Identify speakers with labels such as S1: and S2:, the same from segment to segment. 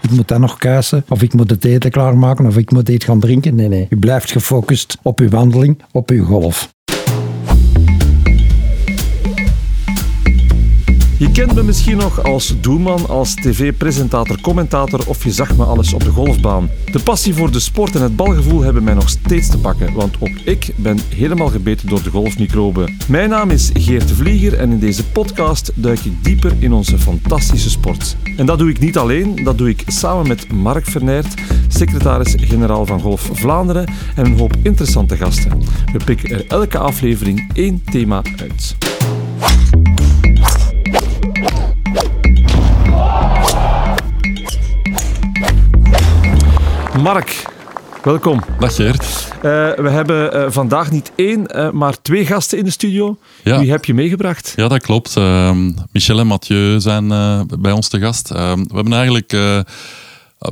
S1: ik moet dat nog kuisen, of ik moet het eten klaarmaken, of ik moet iets gaan drinken. Nee, nee. U blijft gefocust op uw wandeling, op uw golf.
S2: Je kent me misschien nog als doelman, als tv-presentator, commentator of je zag me alles op de golfbaan. De passie voor de sport en het balgevoel hebben mij nog steeds te pakken, want ook ik ben helemaal gebeten door de golfmicroben. Mijn naam is Geert de Vlieger en in deze podcast duik ik dieper in onze fantastische sport. En dat doe ik niet alleen, dat doe ik samen met Mark Verneert, secretaris-generaal van Golf Vlaanderen en een hoop interessante gasten. We pikken er elke aflevering één thema uit. Mark, welkom.
S3: Dag Geert.
S2: Eh, we hebben eh, vandaag niet één, eh, maar twee gasten in de studio.
S3: Ja.
S2: Wie heb je meegebracht?
S3: Ja, dat klopt. Ehm, Michel en Mathieu zijn eh, bij ons te gast. Ehm, we hebben eigenlijk eh,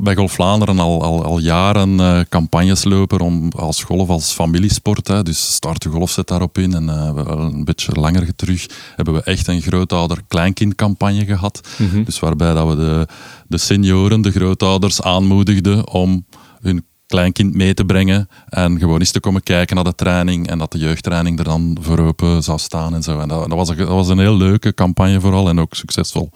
S3: bij Golf Vlaanderen al, al, al jaren eh campagnes lopen om, als golf, als familiesport. Hè. Dus Start de Golf zet daarop in. En eh, we- wel een beetje langer terug hebben we echt een grootouder-kleinkindcampagne gehad. Dus waarbij dat we de, de senioren, de grootouders aanmoedigden om hun kleinkind mee te brengen en gewoon eens te komen kijken naar de training en dat de jeugdtraining er dan voor open zou staan en zo. En dat, dat, was, een, dat was een heel leuke campagne vooral en ook succesvol.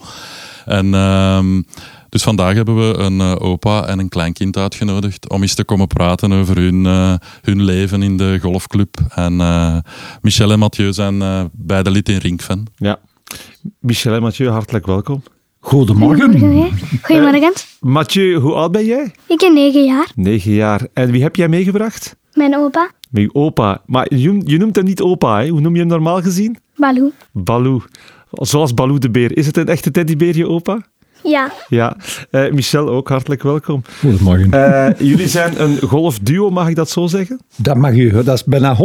S3: En ehm, dus vandaag hebben we een eh, opa en een kleinkind uitgenodigd om eens te komen praten over hun, eh, hun leven in de golfclub. En eh, Michel en Mathieu zijn eh, beide lid in Rinkven.
S2: Ja. Michel en Mathieu, hartelijk welkom.
S1: Goedemorgen.
S4: Goedemorgen. Goedemorgen.
S2: Mathieu, hoe oud ben jij?
S4: Ik ben 9 jaar.
S2: Negen jaar. En wie heb jij meegebracht?
S4: Mijn opa,
S2: Met je opa. Maar je, je noemt hem niet opa, hè? Hoe noem je hem normaal gezien?
S4: Baloo.
S2: Baloo. Zoals Baloo de beer. Is het een echte teddybeer, je opa?
S4: Ja,
S2: Ja. Eh, Michel, ook hartelijk welkom.
S1: Goedemorgen.
S2: Eh, jullie zijn een golfduo, mag ik dat zo zeggen?
S1: Dat mag u, dat is bijna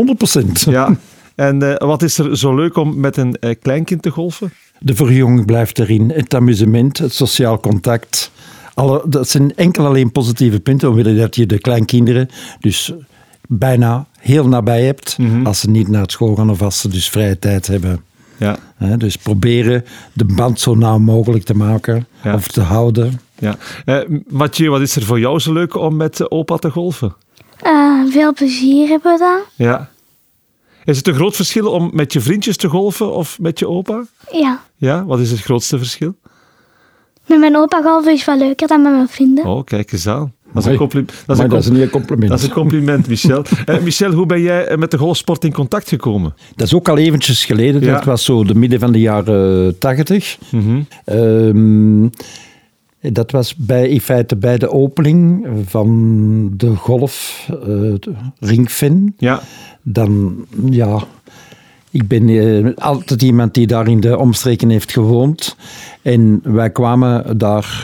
S1: 100%.
S2: Ja. En eh, wat is er zo leuk om met een eh, kleinkind te golfen?
S1: De verjonging blijft erin, het amusement, het sociaal contact. Alle, dat zijn enkel alleen positieve punten, omwille dat je de kleinkinderen dus bijna heel nabij hebt,
S2: Mhm.
S1: als ze niet naar het school gaan of als ze dus vrije tijd hebben.
S2: Ja.
S1: Hè, dus proberen de band zo nauw mogelijk te maken
S2: Ja.
S1: of te houden.
S2: Ja. Eh, Mathieu, wat is er voor jou zo leuk om met eh, opa te golven?
S4: eh, veel plezier hebben we dan.
S2: Ja. Is het een groot verschil om met je vriendjes te golven of met je opa?
S4: Ja.
S2: Ja, wat is het grootste verschil?
S4: Met mijn opa golven is wel leuker dan met mijn vrienden.
S2: Oh, kijk eens aan. Dat is
S1: Mooi.
S2: een compliment. Dat
S1: maar
S2: is, een,
S1: dat is
S2: compli-
S1: een heel compliment.
S2: dat is een compliment, Michel. Eh, Michel, hoe ben jij eh, met de golfsport in contact gekomen?
S1: Dat is ook al eventjes geleden.
S2: Ja.
S1: Dat was zo de midden van de jaren tachtig. Ehm, dat was bij, in feite bij de opening van de golf, eh Ringfin.
S2: Ja,
S1: Dan, ja... Ik ben eh, altijd iemand die daar in de omstreken heeft gewoond. En wij kwamen daar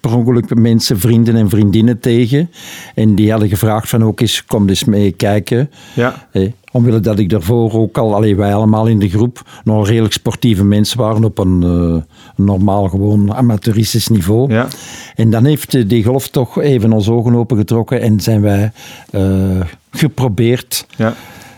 S1: per ongeluk mensen, vrienden en vriendinnen tegen. En die hadden gevraagd van ook eens, kom eens mee kijken.
S2: ja,
S1: Hè, omwille dat ik daarvoor ook al, allee, wij allemaal in de groep, nog redelijk sportieve mensen waren op een eh, normaal, gewoon amateuristisch niveau.
S2: Ja.
S1: En dan heeft eh, die golf toch even onze ogen opengetrokken en zijn wij eh, geprobeerd
S2: ja,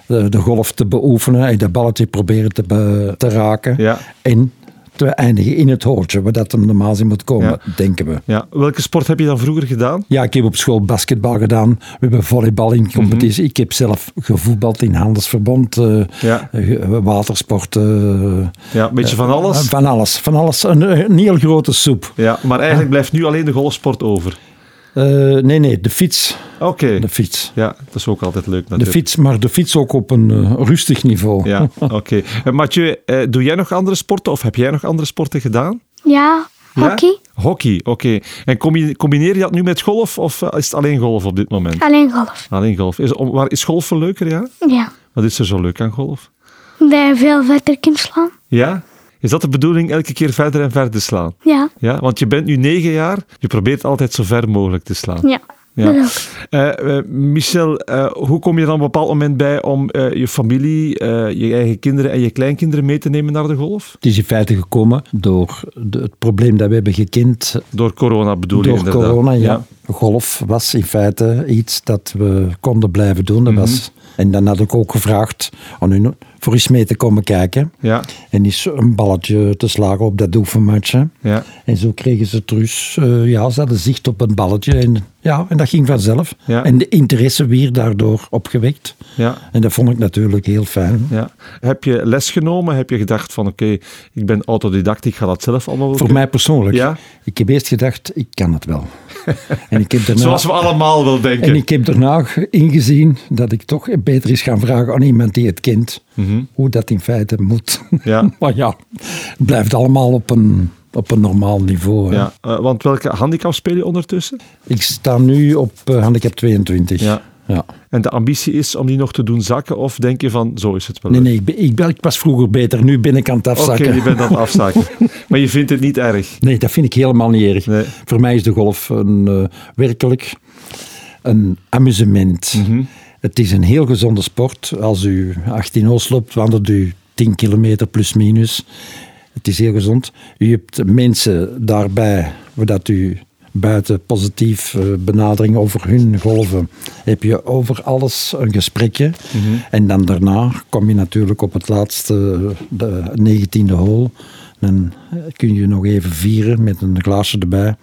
S1: eh, de golf te beoefenen en de balletje proberen te, be- te raken.
S2: Ja.
S1: En te eindigen in het hoortje, waar dat hem normaal in moet komen,
S2: Ja.
S1: denken we.
S2: ja. Welke sport heb je dan vroeger gedaan?
S1: Ja, ik heb op school basketbal gedaan. We hebben volleybal
S2: Mhm.
S1: in competitie. Ik heb zelf gevoetbald in handelsverbond, eh,
S2: Ja.
S1: eh, watersport. eh,
S2: Ja, een beetje van
S1: eh,
S2: alles.
S1: Van alles. Van alles. Een, een heel grote soep.
S2: Ja, maar eigenlijk blijft nu alleen de golfsport over.
S1: Eh, nee, nee, de fiets.
S2: Oké.
S1: De fiets.
S2: Ja, dat is ook altijd leuk
S1: De
S2: natuurlijk.
S1: fiets, maar de fiets ook op een eh, rustig niveau.
S2: Ja, oké. Eh, Mathieu, eh, doe jij nog andere sporten of heb jij nog andere sporten gedaan?
S4: Ja,
S2: Ja?
S4: hockey.
S2: Hockey, oké. En combi- combineer je dat nu met golf of eh, is het alleen golf op dit moment?
S4: Alleen golf.
S2: Alleen golf. Is, om- waar, is golfen leuker, ja?
S4: Ja.
S2: Wat is er zo leuk aan golf?
S4: Daar je veel verder kunt slaan.
S2: Ja? Is dat de bedoeling, elke keer verder en verder slaan?
S4: Ja.
S2: Ja, want je bent nu negen jaar, je probeert altijd zo ver mogelijk te slaan.
S4: Ja.
S2: Ja.
S4: Dat ook.
S2: Eh, eh, Michel, eh, hoe kom je dan op een bepaald moment bij om eh, je familie, eh, je eigen kinderen en je kleinkinderen mee te nemen naar de golf?
S1: Het is in feite gekomen door de- het probleem dat we hebben gekend
S2: Door corona bedoel je
S1: door
S2: inderdaad.
S1: corona. Ja. Golf was in
S2: Mhm.
S1: feite iets dat we konden blijven doen. Dat was, en dan had ik ook gevraagd aan hun voor eens mee te komen kijken.
S2: Ja,
S1: En eens een balletje te slagen op dat oefenmatje.
S2: ja.
S1: En zo kregen ze terug, eh, ja, ze hadden zicht op een balletje. En, ja, en dat ging vanzelf.
S2: Ja.
S1: En de interesse weer daardoor opgewekt.
S2: ja.
S1: En dat vond ik natuurlijk heel fijn.
S2: Ja. Heb je les genomen? Heb je gedacht van oké, ik ben autodidact, ik ga dat zelf allemaal wel
S1: Voor
S2: kunnen?
S1: mij persoonlijk.
S2: Ja.
S1: Ik heb eerst gedacht, ik kan het wel. en ik heb daarna,
S2: Zoals we allemaal wel denken.
S1: en ik heb daarna ingezien dat ik toch beter is gaan vragen aan iemand die het kent. Hoe dat in feite moet.
S2: Mhm. Ja.
S1: maar ja, het blijft allemaal op een, op een normaal niveau. hè.
S2: Ja, eh, want welke handicap speel je ondertussen?
S1: Ik sta nu op eh, handicap 22.
S2: Ja.
S1: ja.
S2: En de ambitie is om die nog te doen zakken? Of denk je van, zo is het wel
S1: Nee,
S2: leuk?
S1: nee, ik, ben- ik, ben- ik was vroeger beter. Nu ben ik aan het
S2: Oké,
S1: afzakken.
S2: je bent aan het afzakken. maar je vindt het niet erg.
S1: Nee, dat vind ik helemaal niet erg.
S2: Nee.
S1: Voor mij is de golf een, eh, werkelijk een amusement.
S2: Mhm.
S1: Het is een heel gezonde sport. Als u 18 holes loopt, wandelt u 10 kilometer plus minus. Het is heel gezond. U hebt mensen daarbij, dat u buiten positief eh, benadering over hun golven, heb je over alles een gesprekje.
S3: Mhm.
S1: En dan daarna kom je natuurlijk op het laatste, de 19e hole. Dan eh, kun je nog even vieren met een glaasje erbij.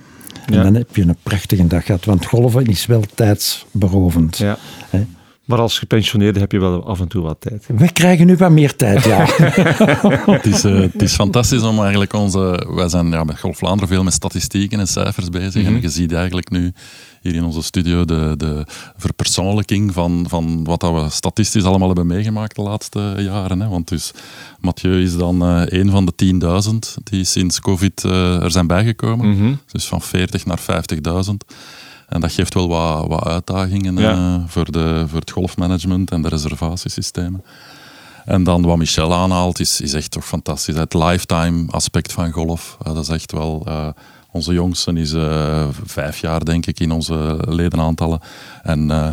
S1: En
S2: Ja.
S1: dan heb je een prachtige dag gehad. Want golven is wel tijdsberovend.
S2: Ja.
S1: Hè?
S2: Maar als gepensioneerde heb je wel af en toe wat tijd.
S1: We krijgen nu wat meer tijd, ja.
S3: Het is, eh, het is fantastisch om eigenlijk onze... Wij zijn ja, met Golf Vlaanderen veel met statistieken en cijfers bezig. En je ziet eigenlijk nu hier in onze studio de, de verpersoonlijking van, van wat dat we statistisch allemaal hebben meegemaakt de laatste jaren. Hè. Want dus Mathieu is dan eh een van de 10.000 die sinds COVID eh, er zijn bijgekomen. Dus van 40 naar 50.000. En dat geeft wel wat, wat uitdagingen
S2: Ja.
S3: eh, voor, de, voor het golfmanagement en de reservatiesystemen. En dan wat Michel aanhaalt, is, is echt toch fantastisch. Het lifetime aspect van golf, eh, dat is echt wel... eh, onze jongste is eh, vijf jaar, denk ik, in onze ledenaantallen. En eh,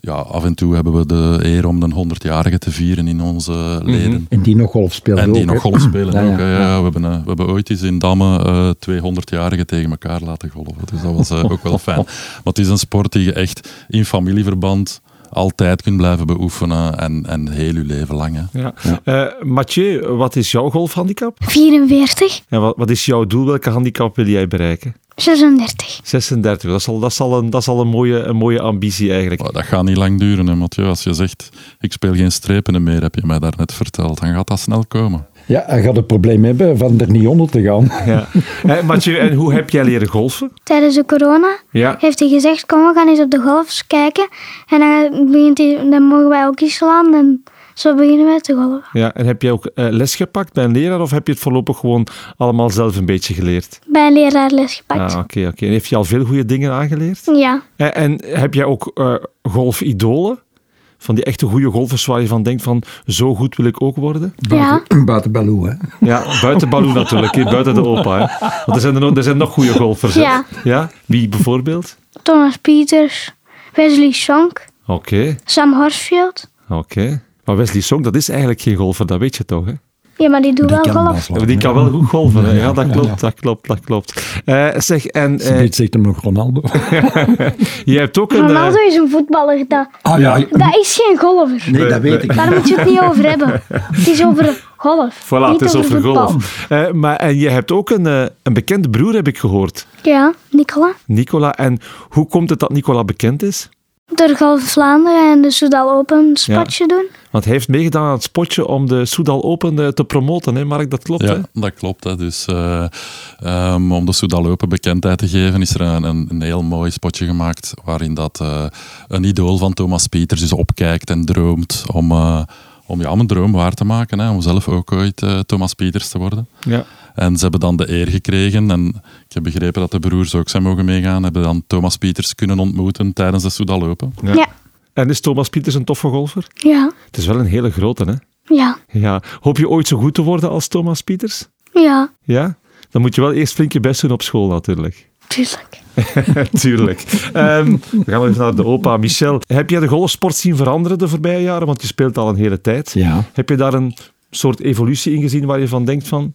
S3: ja, af en toe hebben we de eer om de 100-jarige te vieren in onze
S1: Mhm.
S3: leden.
S1: En die nog golf speelt
S3: En die
S1: ook,
S3: nog
S1: hè.
S3: golf spelen.
S1: Ja, ja,
S3: ook, hè.
S1: ja.
S3: Ja, we, hebben, eh, we hebben ooit eens in Damme eh 200-jarigen tegen elkaar laten golven. Dus dat was eh, ook wel fijn. Maar het is een sport die je echt in familieverband altijd kunt blijven beoefenen. En, en heel je leven lang. Hè.
S2: Ja. Eh, Mathieu, wat is jouw golfhandicap?
S4: 44,
S2: En wat, wat is jouw doel? Welke handicap wil jij bereiken?
S4: 36.
S2: 36, dat is al, dat is al, een, dat is al een, mooie, een mooie ambitie eigenlijk.
S3: Maar dat gaat niet lang duren, hè, Mathieu. Als je zegt, ik speel geen strepen meer, heb je mij daarnet verteld. Dan gaat dat snel komen.
S1: Ja, hij gaat het probleem hebben van er niet onder te gaan.
S2: Ja. Eh, Mathieu, en hoe heb jij leren golfen?
S4: Tijdens de corona
S2: Ja.
S4: heeft hij gezegd, kom we gaan eens op de golfs kijken. En dan, begint hij, dan mogen wij ook iets slaan en zo beginnen wij te golven.
S2: ja. En heb jij ook eh, les gepakt bij een leraar of heb je het voorlopig gewoon allemaal zelf een beetje geleerd?
S4: Bij een leraar les
S2: Ah,
S4: gepakt.
S2: Oké, oké. En heeft je al veel goede dingen aangeleerd?
S4: Ja,
S2: En, en heb jij ook eh, golfidolen? Van die echte goede golfers waar je van denkt van, zo goed wil ik ook worden?
S4: ja.
S1: Buiten Baloo, hè.
S2: Ja, buiten Baloo natuurlijk, hè, buiten de opa. Hè. Want er zijn, er, nog- er zijn nog goede golfers. hè.
S4: Ja.
S2: ja? Wie bijvoorbeeld?
S4: Thomas Pieters, Wesley Sonk,
S2: Oké,
S4: Sam Horsfield.
S2: oké. Maar Wesley Song, dat is eigenlijk geen golfer, dat weet je toch, hè?
S4: Ja, maar die doet wel
S1: kan
S4: golf.
S1: wel
S2: Die kan wel goed golven, hè? Ja, dat klopt, dat klopt, dat klopt. Eh, zeg, en eh,
S1: Dit zegt hem nog Ronaldo.
S2: je hebt ook een... eh,
S4: Ronaldo is een voetballer, dat,
S1: Ah ja,
S4: dat is geen golfer.
S1: nee, dat weet ik
S4: Daar moet je het niet over hebben. Het is over golf.
S2: Voilà,
S4: niet
S2: het is over
S4: voetbal.
S2: golf. Eh, maar, en je hebt ook een, eh, een bekende broer, heb ik gehoord.
S4: Ja, Nicola.
S2: Nicola. En hoe komt het dat Nicola bekend is?
S4: Door Golf Vlaanderen en de Soudal Open spotje doen.
S2: Want hij heeft meegedaan aan het spotje om de Soudal Open eh, te promoten, hè Mark? Dat klopt, hè?
S3: Ja, dat klopt. Hè. Dus, eh, ehm, om de Soudal Open bekendheid te geven, is er een, een, een heel mooi spotje gemaakt waarin dat, eh, een idool van Thomas Pieters dus opkijkt en droomt om, eh, om, ja, om een droom waar te maken. Hè. Om zelf ook ooit eh, Thomas Pieters te worden.
S2: Ja.
S3: En ze hebben dan de eer gekregen. En ik heb begrepen dat de broers ook zijn mogen meegaan. Hebben dan Thomas Pieters kunnen ontmoeten tijdens de Soudal Open.
S2: Ja.
S4: Ja.
S2: En is Thomas Pieters een toffe golfer?
S4: Ja,
S2: Het is wel een hele grote, hè?
S4: ja,
S2: Ja. Hoop je ooit zo goed te worden als Thomas Pieters?
S4: ja,
S2: Ja? Dan moet je wel eerst flink je best doen op school, natuurlijk.
S4: tuurlijk.
S2: Tuurlijk. Ehm, we gaan even naar de opa. Michel, heb jij de golfsport zien veranderen de voorbije jaren? Want je speelt al een hele tijd.
S1: Ja.
S2: Heb je daar een soort evolutie in gezien waar je van denkt van,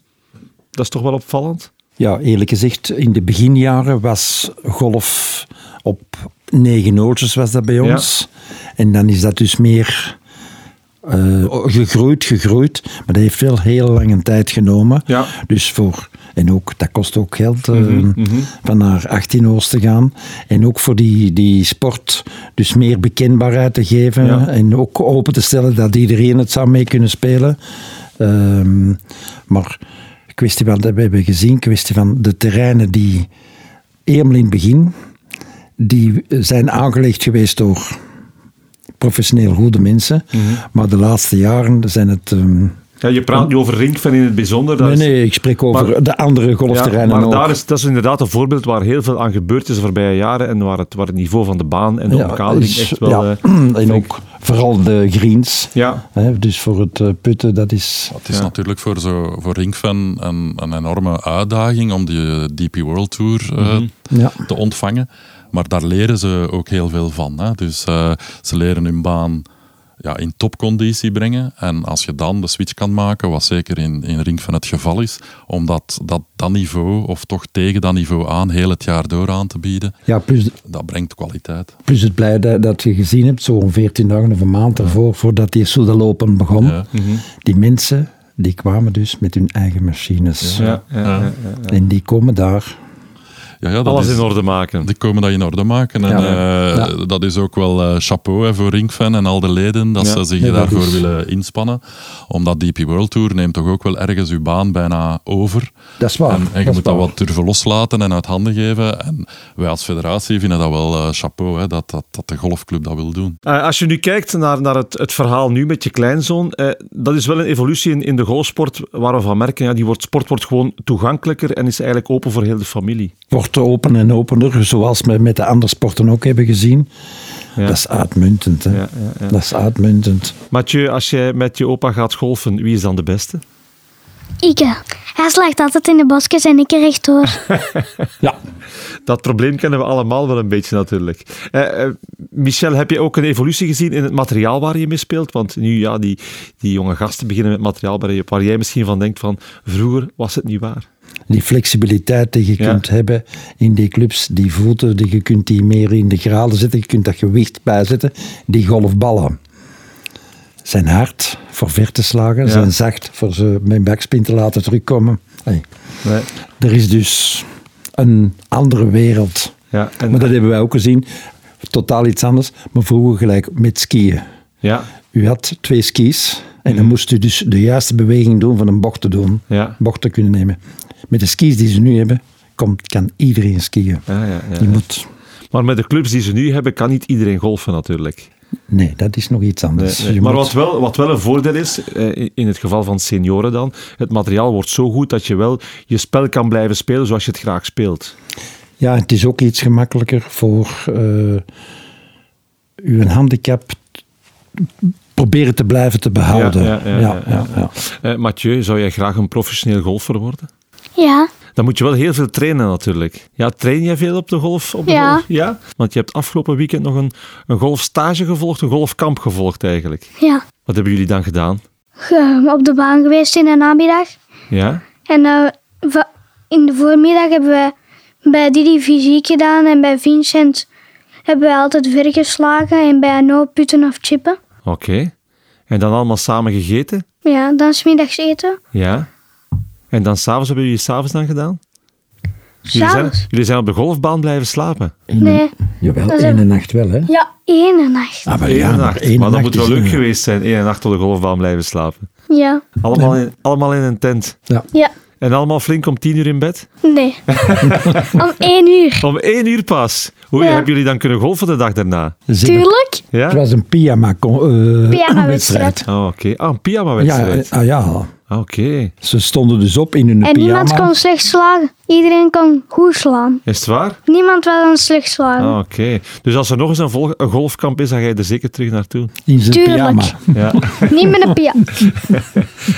S2: dat is toch wel opvallend?
S1: Ja, eerlijk gezegd, in de beginjaren was golf op negen oortjes was dat bij
S2: Ja.
S1: ons. En dan is dat dus meer eh, gegroeid, gegroeid. Maar dat heeft wel heel lange tijd genomen.
S2: Ja.
S1: Dus voor, en ook, dat kost ook geld, eh, van naar 18 oors te gaan. En ook voor die, die sport dus meer bekendbaarheid te geven.
S2: Ja.
S1: En ook open te stellen dat iedereen het zou mee kunnen spelen. Ehm, maar kwestie van, dat we hebben gezien, kwestie van de terreinen die helemaal in het begin, die zijn aangelegd geweest door professioneel goede mensen. Maar de laatste jaren zijn het... ehm,
S2: Ja, je praat nu over Rinkven in het bijzonder. daar
S1: nee,
S2: is-
S1: nee, ik spreek over
S2: Maar-
S1: de andere
S2: Ja,
S1: golfterreinen
S2: maar
S1: ook.
S2: daar is, dat is inderdaad een voorbeeld waar heel veel aan gebeurd is de voorbije jaren en waar het, waar het niveau van de baan en de omkadering
S1: is-
S2: echt wel...
S1: ja,
S2: eh,
S1: en
S2: flink-
S1: ook vooral de greens.
S2: Ja.
S1: Hè, dus voor het eh, putten, dat is...
S3: Het is
S2: Ja.
S3: natuurlijk voor, zo, voor Ringfan een, een enorme uitdaging om die DP World Tour eh,
S2: Mhm.
S1: Ja.
S3: te ontvangen. Maar daar leren ze ook heel veel van. Hè? Dus eh, ze leren hun baan ja, in topconditie brengen. En als je dan de switch kan maken, wat zeker in, in Ringfan het geval is, om dat, dat, dat niveau, of toch tegen dat niveau aan, heel het jaar door aan te bieden,
S1: Ja, plus,
S3: dat brengt kwaliteit.
S1: plus het blij dat, dat je gezien hebt, zo'n 14 dagen of een maand ervoor, voordat die Soudal Open begon,
S3: Ja.
S2: mhm.
S1: die mensen, die kwamen dus met hun eigen machines.
S2: Ja, ja, ja, ja.
S1: En die komen daar.
S3: Ja, ja, dat
S2: Alles
S3: is-
S2: in orde maken.
S3: Die komen dat in orde maken. En
S1: Ja.
S3: eh,
S1: Ja.
S3: dat is ook wel eh, chapeau hè, voor Ringfan en al de leden dat
S2: Ja.
S3: ze zich
S1: Nee, dat
S3: daarvoor
S1: is-
S3: willen inspannen. Omdat DP World Tour neemt toch ook wel ergens uw baan bijna over.
S1: Dat is waar,
S3: En, en je
S1: dat is
S3: moet dat
S1: waar.
S3: wat durven loslaten en uit handen geven. En wij als federatie vinden dat wel eh, chapeau hè, dat, dat, dat de golfclub dat wil doen.
S2: Eh, als je nu kijkt naar, naar het, het verhaal nu met je kleinzoon, eh, dat is wel een evolutie in, in de golfsport waar we van merken, ja, die wordt, sport wordt gewoon toegankelijker en is eigenlijk open voor heel de familie.
S1: Wordt open en opener, zoals we met de andere sporten ook hebben gezien.
S2: Ja.
S1: Dat is uitmuntend. Hè?
S2: Ja, ja, ja.
S1: Dat is uitmuntend.
S2: Mathieu, als jij met je opa gaat golfen, wie is dan de beste?
S4: Ike. Hij slaagt altijd in de bosjes en ik er rechtdoor.
S1: Ja,
S2: Dat probleem kennen we allemaal wel een beetje natuurlijk. Eh, eh, Michel, heb je ook een evolutie gezien in het materiaal waar je mee speelt? Want nu, ja, die, die jonge gasten beginnen met materiaal waar, je- waar jij misschien van denkt van vroeger was het niet waar.
S1: die flexibiliteit die je
S2: Ja.
S1: kunt hebben in die clubs, die voeten, die, je kunt die meer in de graden zetten, je kunt dat gewicht bijzetten. Die golfballen zijn hard voor ver te slagen, zijn zacht voor ze met backspin te laten terugkomen. Hey,
S2: Nee.
S1: Er is dus een andere wereld.
S2: Ja, en-
S1: maar dat hebben wij ook gezien. Totaal iets anders, maar vroeger gelijk met skiën.
S2: Ja,
S1: U had twee skis en dan moest u dus de juiste beweging doen van een bocht te doen.
S2: Mhm. Ja.
S1: Bocht te kunnen nemen. Met de skis die ze nu hebben, komt, kan iedereen skiën.
S2: ja, ja, ja.
S1: Je moet...
S2: Maar met de clubs die ze nu hebben, kan niet iedereen golfen natuurlijk.
S1: Nee, dat is nog iets anders.
S2: Nee, nee.
S1: Dus Je
S2: Maar
S1: moet-
S2: wat wel, wat wel een voordeel is, eh, in- in het geval van senioren dan, het materiaal wordt zo goed dat je wel je spel kan blijven spelen zoals je het graag speelt.
S1: Ja, het is ook iets gemakkelijker voor eh uw handicap t- proberen te blijven te behouden.
S2: Ja, ja, ja, ja, ja.
S1: ja.
S2: Eh, Mathieu, zou jij graag een professioneel golfer worden?
S4: Ja,
S2: Dan moet je wel heel veel trainen natuurlijk. Ja, train jij veel op de golf? Op de
S4: Ja.
S2: golf? ja? Want je hebt afgelopen weekend nog een, een golfstage gevolgd, een golfkamp gevolgd eigenlijk.
S4: ja.
S2: Wat hebben jullie dan gedaan?
S4: Ge- Op de baan geweest in de namiddag.
S2: Ja?
S4: En eh, va- in de voormiddag hebben we bij Didi fysiek gedaan en bij Vincent hebben we altijd vergeslagen en bij Anno putten of chippen.
S2: Oké. En dan allemaal samen gegeten?
S4: Ja, dan smiddags eten.
S2: Ja. En dan s'avonds, hebben jullie s'avonds dan gedaan? Jullie zijn,
S4: S'avonds?
S2: jullie zijn op de golfbaan blijven slapen.
S4: Nee.
S1: Jawel,
S4: Dat is
S1: één
S4: een-
S1: nacht wel, hè?
S4: Ja, één nacht.
S1: Ah, maar
S2: Eén
S1: ja,
S2: nacht.
S1: maar
S2: Maar,
S1: één
S2: dat
S1: nacht
S2: moet wel
S1: is
S2: leuk
S1: een-
S2: geweest zijn, één nacht op de golfbaan blijven slapen.
S4: Ja.
S2: Allemaal in, allemaal in een tent.
S1: Ja.
S4: Ja.
S2: En allemaal flink om tien uur in bed?
S4: Nee. Om één uur.
S2: Om één uur pas. Hoe
S4: Ja.
S2: hebben jullie dan kunnen golfen de dag daarna?
S1: Zeker.
S4: Tuurlijk.
S2: Ja?
S1: Het was een pyjama-wedstrijd.
S4: Pyjama-wedstrijd.
S2: Oh, oké. Ah, een
S1: ja, eh,
S2: pyjama-wedstrijd.
S1: ah, ja,
S2: Ah, oké.
S1: ze stonden dus op in hun
S4: En
S1: pyjama.
S4: niemand kon slecht slagen. Iedereen kon goed slaan.
S2: Is het waar?
S4: Niemand was een slecht slagen.
S2: Ah, oké. Dus als er nog eens een, volg- een golfkamp is, dan ga je er zeker terug naartoe.
S1: In zijn
S4: Tuurlijk.
S1: pyjama.
S2: Ja.
S4: Niet met een pia.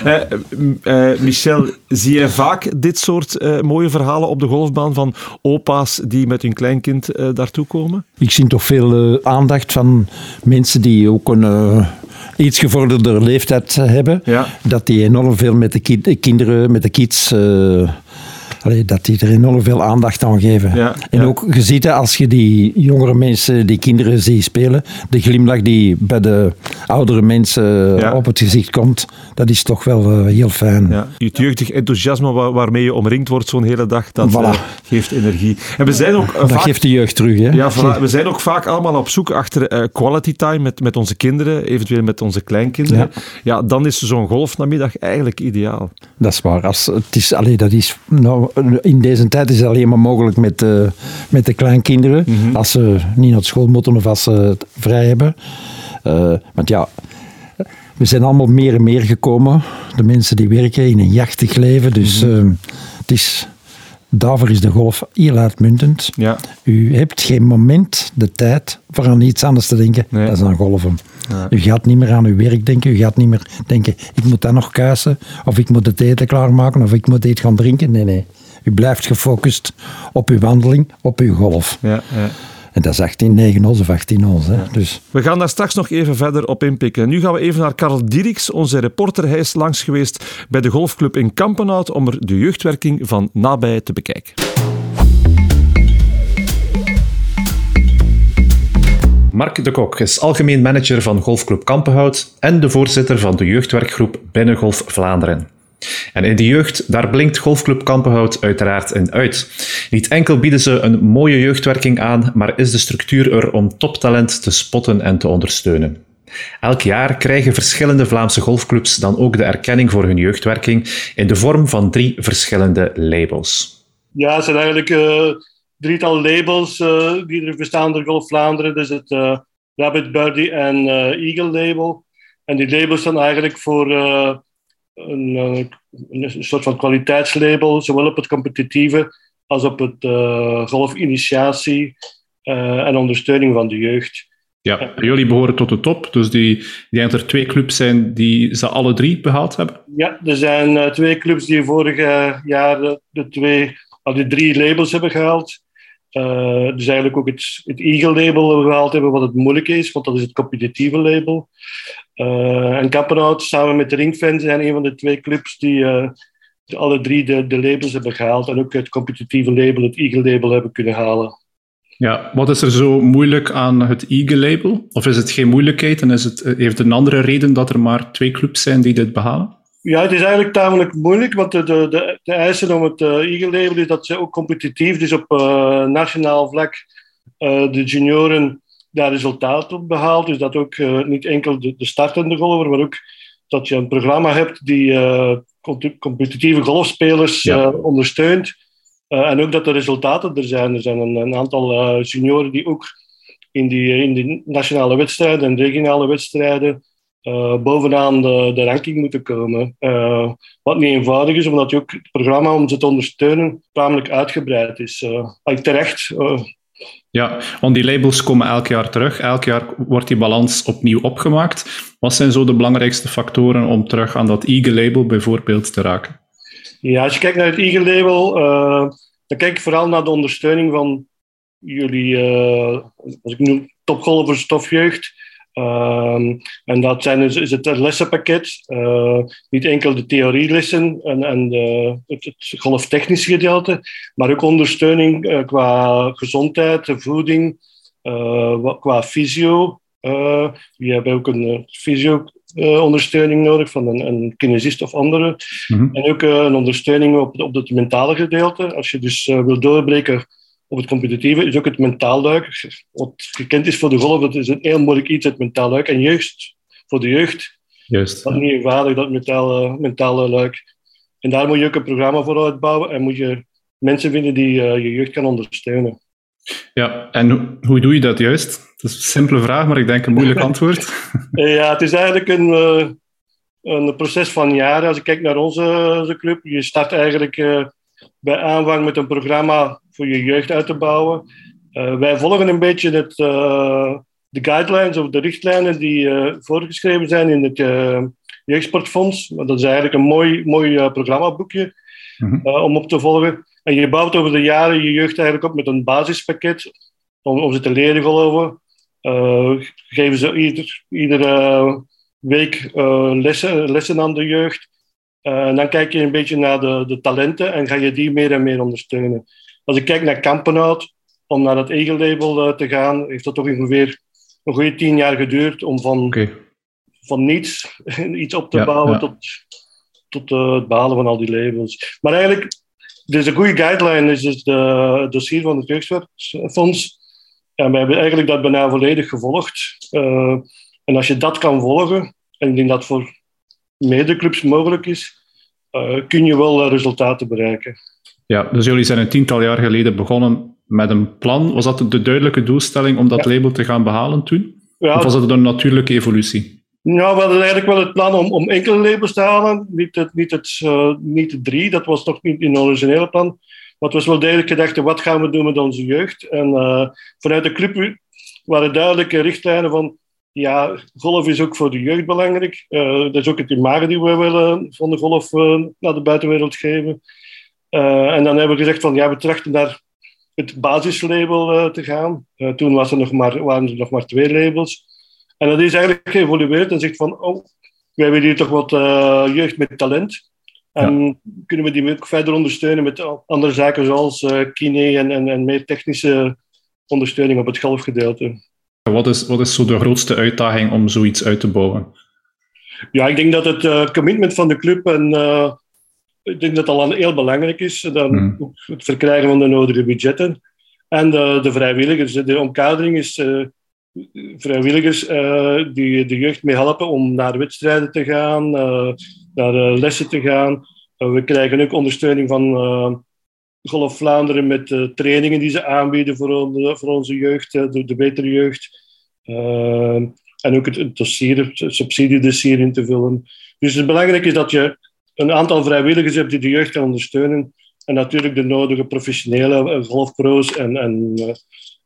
S2: Eh, m- eh, Michel, zie jij vaak dit soort eh, mooie verhalen op de golfbaan van opa's die met hun kleinkind eh, daartoe komen?
S1: Ik zie toch veel eh, aandacht van mensen die ook een eh, iets gevorderde leeftijd hebben.
S2: Ja.
S1: Dat die enorm veel met de, ki- de kinderen, met de kids eh, allee, dat die er enorm veel aandacht aan geven.
S2: Ja,
S1: en
S2: ja.
S1: ook, je ziet dat als je die jongere mensen, die kinderen ziet spelen, de glimlach die bij de oudere mensen eh,
S2: Ja.
S1: op het gezicht komt, dat is toch wel eh, heel fijn.
S2: Ja, het jeugdig enthousiasme wa- waarmee je omringd wordt zo'n hele dag, dat
S1: Voilà.
S2: eh, geeft energie. En we zijn ook eh,
S1: Dat
S2: vaak...
S1: geeft de jeugd terug, hè?
S2: Ja, voilà. we zijn ook vaak allemaal op zoek achter eh, quality time met, met onze kinderen, eventueel met onze kleinkinderen. Ja, dan is zo'n golfnamiddag eigenlijk ideaal.
S1: Dat is waar. Als, het is, allee, dat is, nou, in deze tijd is het alleen maar mogelijk met, eh, met de kleinkinderen. Als ze niet naar school moeten of als ze het vrij hebben. Eh, want ja, we zijn allemaal meer en meer gekomen. De mensen die werken in een jachtig leven. Dus eh, het is, daarvoor is de golf heel uitmuntend.
S2: Ja.
S1: U hebt geen moment de tijd voor aan iets anders te denken.
S2: Nee.
S1: Dat is aan golven.
S2: Ja.
S1: U gaat niet meer aan uw werk denken. U gaat niet meer denken, ik moet dat nog kuisen. Of ik moet het eten klaarmaken. Of ik moet dit gaan drinken. Nee, nee. U blijft gefocust op uw wandeling, op uw golf.
S2: Ja, ja.
S1: En dat is 18, 9 ons of 18 ons. Hè. Dus
S2: We gaan daar straks nog even verder op inpikken. Nu gaan we even naar Karel Dieriks, onze reporter. Hij is langs geweest bij de golfclub in Kampenhout om er de jeugdwerking van nabij te bekijken.
S5: Mark de Kok is algemeen manager van Golfclub Kampenhout en de voorzitter van de jeugdwerkgroep Binnengolf Vlaanderen. En in die jeugd, daar blinkt Golfclub Kampenhout uiteraard in uit. Niet enkel bieden ze een mooie jeugdwerking aan, maar is de structuur er om toptalent te spotten en te ondersteunen. Elk jaar krijgen verschillende Vlaamse golfclubs dan ook de erkenning voor hun jeugdwerking in de vorm van drie verschillende labels.
S6: Ja, het zijn eigenlijk eh drietal labels eh, die er bestaan door Golf Vlaanderen. Dus het eh, Rabbit Birdie en eh, Eagle label. En die labels zijn eigenlijk voor eh, een, eh, een soort van kwaliteitslabel, zowel op het competitieve als op het eh, golfinitiatie eh, en ondersteuning van de jeugd.
S7: Ja, jullie behoren tot de top. Dus die, ik denk dat er twee clubs zijn die ze alle drie behaald hebben.
S6: Ja, er zijn eh, twee clubs die vorig eh, jaar eh, de, twee, al die drie labels hebben gehaald. Eh, dus eigenlijk ook het, het Eagle-label gehaald hebben, wat het moeilijk is, want dat is het competitieve label. Eh, en Kappenhout samen met de Ringfans zijn een van de twee clubs die eh, de- alle drie de, de labels hebben gehaald. En ook het competitieve label, het Eagle-label, hebben kunnen halen.
S7: Ja, wat is er zo moeilijk aan het Eagle-label? Of is het geen moeilijkheid en is het, eh, heeft het een andere reden dat er maar twee clubs zijn die dit behalen?
S6: Ja, het is eigenlijk tamelijk moeilijk, want de, de, de, de eisen om het eh Eagle-label is dat ze ook competitief, dus op eh, nationaal vlak, eh, de junioren daar resultaat op behaalt. Dus dat ook eh, niet enkel de, de startende golfer, maar ook dat je een programma hebt die eh, comp- competitieve golfspelers
S7: Ja.
S6: eh, ondersteunt. Eh, en ook dat de resultaten er zijn. Er zijn een, een aantal eh, junioren die ook in die, in die nationale wedstrijden en regionale wedstrijden eh, bovenaan de, de ranking moeten komen. Eh, wat niet eenvoudig is, omdat je ook het programma om ze te ondersteunen tamelijk uitgebreid is. Eh, en terecht, eh,
S7: Ja, want die labels komen elk jaar terug. Elk jaar wordt die balans opnieuw opgemaakt. Wat zijn zo de belangrijkste factoren om terug aan dat Eagle-label bijvoorbeeld te raken?
S6: Ja, als je kijkt naar het Eagle-label, eh, dan kijk ik vooral naar de ondersteuning van jullie, eh, als ik noem, topgolvers, topjeugd. Ehm, en dat zijn dus, is het lessenpakket. eh, niet enkel de theorielessen en, en de, het, het golftechnische gedeelte, maar ook ondersteuning eh, qua gezondheid, voeding, eh, wat- qua fysio. Eh, je hebt ook een eh, fysio-ondersteuning nodig van een, een kinesist of andere.
S7: Mhm.
S6: En ook eh, een ondersteuning op, op het mentale gedeelte. Als je dus eh, wil doorbreken op het competitieve, is ook het mentaal luik. Wat gekend is voor de golf, dat is een heel moeilijk iets, het mentaal luik. En jeugd, voor de jeugd,
S7: Juist.
S6: dat is niet eenvoudig, dat mentale, mentale luik. En daar moet je ook een programma voor uitbouwen en moet je mensen vinden die eh, je jeugd kan ondersteunen.
S7: Ja, en hoe- hoe doe je dat juist? Dat is een simpele vraag, maar ik denk een moeilijk antwoord.
S6: Eh, Ja, het is eigenlijk een, eh, een proces van jaren. Als ik kijk naar onze, onze club, je start eigenlijk eh, bij aanvang met een programma voor je jeugd uit te bouwen. Eh, wij volgen een beetje het, eh, de guidelines of de richtlijnen die eh, voorgeschreven zijn in het eh, Jeugdsportfonds. Want Dat is eigenlijk een mooi, mooi eh, programmaboekje
S7: Mhm.
S6: eh, om op te volgen. En je bouwt over de jaren je jeugd eigenlijk op met een basispakket om, om ze te leren geloven. Eh, geven ze ieder, iedere week eh, lessen, lessen aan de jeugd. Eh, en dan kijk je een beetje naar de, de talenten en ga je die meer en meer ondersteunen. Als ik kijk naar Kampenhout, om naar dat eigen label eh, te gaan, heeft dat toch ongeveer een goede tien jaar geduurd om van, van niets iets op te
S7: Ja,
S6: bouwen
S7: ja.
S6: tot, tot eh, het behalen van al die labels. Maar eigenlijk, dus een goede guideline is dus de het dossier van het Jeugdwerksfonds. En we hebben eigenlijk dat bijna volledig gevolgd. Eh, en als je dat kan volgen, en ik denk dat voor meerdere clubs mogelijk is, eh, kun je wel eh, resultaten bereiken.
S7: Ja, dus jullie zijn een tiental jaar geleden begonnen met een plan. Was dat de duidelijke doelstelling om dat label te gaan behalen toen?
S6: Ja,
S7: Of was dat een natuurlijke evolutie?
S6: Nou, we hadden eigenlijk wel het plan om, om enkele labels te halen. Niet, het, niet, het, eh, niet de drie, dat was nog niet in het originele plan. Maar het was wel duidelijk gedacht, wat gaan we doen met onze jeugd? En eh, vanuit de club waren duidelijke richtlijnen van... Ja, golf is ook voor de jeugd belangrijk. Eh, dat is ook het imago die we willen van de golf eh, naar de buitenwereld geven. Eh, en dan hebben we gezegd van, ja, we trachten naar het basislabel eh, te gaan. Eh, toen was er nog maar, waren er nog maar twee labels. En dat is eigenlijk geëvolueerd en zegt van, oh, wij willen hier toch wat eh, jeugd met talent. En kunnen we die ook verder ondersteunen met al- andere zaken zoals eh kine en, en, en meer technische ondersteuning op het golfgedeelte.
S7: Wat is, wat is zo de grootste uitdaging om zoiets uit te bouwen?
S6: Ja, ik denk dat het eh, commitment van de club en eh, ik denk dat dat al heel belangrijk is. eh, Dan
S7: Hmm.
S6: ook het verkrijgen van de nodige budgetten. En de, de vrijwilligers. De omkadering is eh, vrijwilligers eh, die de jeugd mee helpen om naar wedstrijden te gaan, eh, naar eh, lessen te gaan. Eh, we krijgen ook ondersteuning van eh, Golf Vlaanderen met eh, trainingen die ze aanbieden voor, on- voor onze jeugd, eh, de, de betere jeugd. Eh, en ook het, het dossier, het subsidiedossier in te vullen. Dus het belangrijke is dat je een aantal vrijwilligers hebt die de jeugd gaan ondersteunen. En natuurlijk de nodige professionele eh, golfpro's en, en, eh,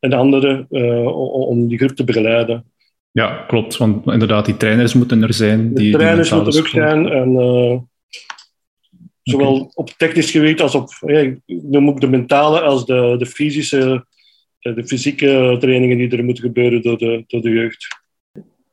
S6: en anderen eh, o- o- om die groep te begeleiden.
S7: Ja, klopt. Want inderdaad, die trainers moeten er zijn.
S6: De
S7: die- die
S6: trainers
S7: mentale
S6: moeten er ook
S7: support.
S6: zijn. En, eh, zowel op technisch gebied als op ja, ik noem ook de mentale als de, de fysische, eh, de fysieke trainingen die er moeten gebeuren door de, door de jeugd.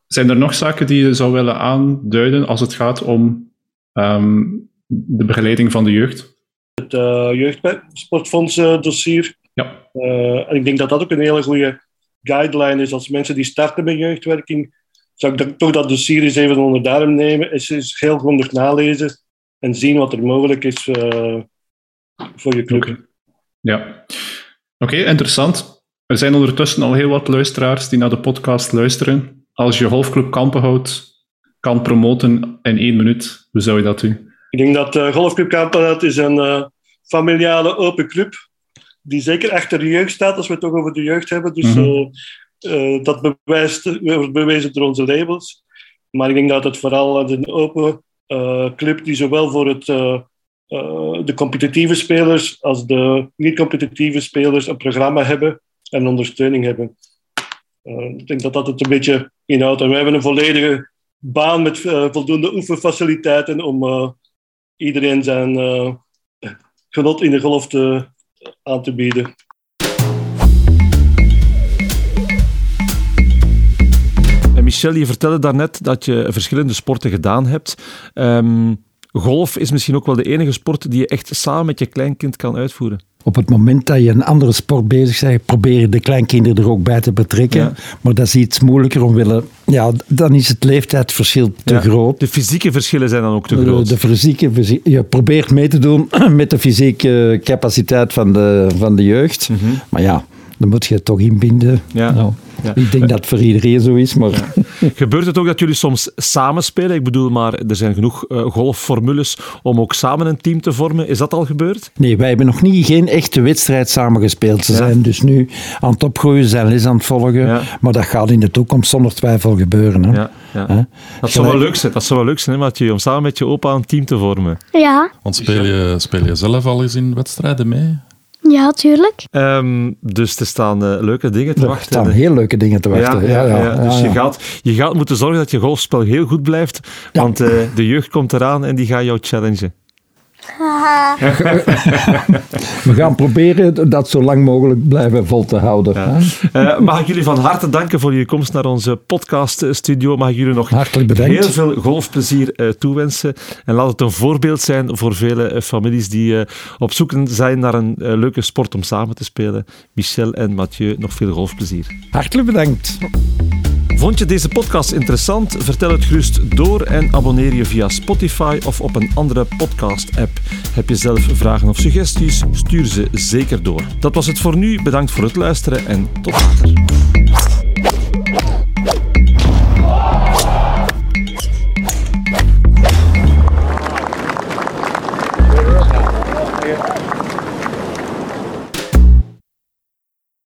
S7: Zijn er nog zaken die je zou willen aanduiden als het gaat om ehm, de begeleiding van de jeugd?
S6: het eh jeugdsportfonds eh, dossier.
S7: Ja.
S6: Eh, en ik denk dat dat ook een hele goede guideline is als mensen die starten met jeugdwerking. Zou ik dat, toch dat dossier eens even onder de arm nemen, eens, eens heel grondig nalezen en zien wat er mogelijk is eh, voor je club.
S7: Oké. Ja. Oké, interessant. Er zijn ondertussen al heel wat luisteraars die naar de podcast luisteren. Als je golfclub Kampenhout kan promoten in één minuut, hoe zou je dat doen?
S6: Ik denk dat eh Golfclub Kaapstad is een eh, familiale open club die zeker achter de jeugd staat, als we het toch over de jeugd hebben. Dus
S7: Mhm.
S6: eh, eh, dat bewijst, wordt bewezen door onze labels. Maar ik denk dat het vooral eh, een open eh, club die zowel voor het, eh, eh, de competitieve spelers als de niet-competitieve spelers een programma hebben en ondersteuning hebben. Eh, ik denk dat dat het een beetje inhoudt. En we hebben een volledige baan met eh, voldoende oefenfaciliteiten om eh, iedereen zijn eh, genot in de golf te, aan te bieden.
S2: En Michel, je vertelde daarnet dat je verschillende sporten gedaan hebt. Ehm, golf is misschien ook wel de enige sport die je echt samen met je kleinkind kan uitvoeren.
S1: Op het moment dat je een andere sport bezig bent, probeer je de kleinkinderen er ook bij te betrekken.
S2: Ja.
S1: Maar dat is iets moeilijker om willen. Ja, dan is het leeftijdsverschil te
S2: Ja.
S1: groot.
S2: De fysieke verschillen zijn dan ook te
S1: De-
S2: groot.
S1: De fysieke, fysie- je probeert mee te doen met de fysieke capaciteit van de, van de jeugd. Maar ja, dan moet je het toch inbinden.
S2: Mhm. Ja.
S1: Nou,
S2: Ja.
S1: Ik denk dat het voor iedereen zo is, maar
S2: Gebeurt het ook dat jullie soms samen spelen? Ik bedoel, maar er zijn genoeg eh, golfformules om ook samen een team te vormen. Is dat al gebeurd?
S1: nee, wij hebben nog niet geen echte wedstrijd samengespeeld. Ze
S2: Ja.
S1: zijn dus nu aan het opgroeien, ze zijn les aan het volgen.
S2: Ja.
S1: Maar dat gaat in de toekomst zonder twijfel gebeuren. Hè.
S2: Ja, ja.
S1: Hè?
S2: Dat zou wel
S1: Gelijk-
S2: leuk zijn, dat zou wel leuk zijn hè, Mathieu, om samen met je opa een team te vormen.
S4: Ja,
S3: Want speel je, speel je zelf al eens in wedstrijden mee?
S4: ja, tuurlijk.
S2: Ehm, dus er staan eh, leuke dingen te
S1: Er
S2: wachten.
S1: staan heel leuke dingen te wachten. Ja, ja, ja,
S2: Dus je
S1: ja.
S2: gaat, je gaat moeten zorgen dat je golfspel heel goed blijft, want eh, de jeugd komt eraan en die gaat jou challengen.
S4: Haha.
S1: We gaan proberen dat zo lang mogelijk blijven vol te houden. hè.
S2: Eh, mag ik jullie van harte danken voor jullie komst naar onze podcaststudio. Mag ik jullie nog
S1: Hartelijk bedankt.
S2: heel veel golfplezier eh, toewensen. En laat het een voorbeeld zijn voor vele eh, families die eh, op zoek zijn naar een eh, leuke sport om samen te spelen. Michel en Mathieu, nog veel golfplezier.
S1: Hartelijk bedankt.
S2: Vond je deze podcast interessant? Vertel het gerust door en abonneer je via Spotify of op een andere podcast-app. Heb je zelf vragen of suggesties? Stuur ze zeker door. Dat was het voor nu. Bedankt voor het luisteren en tot later.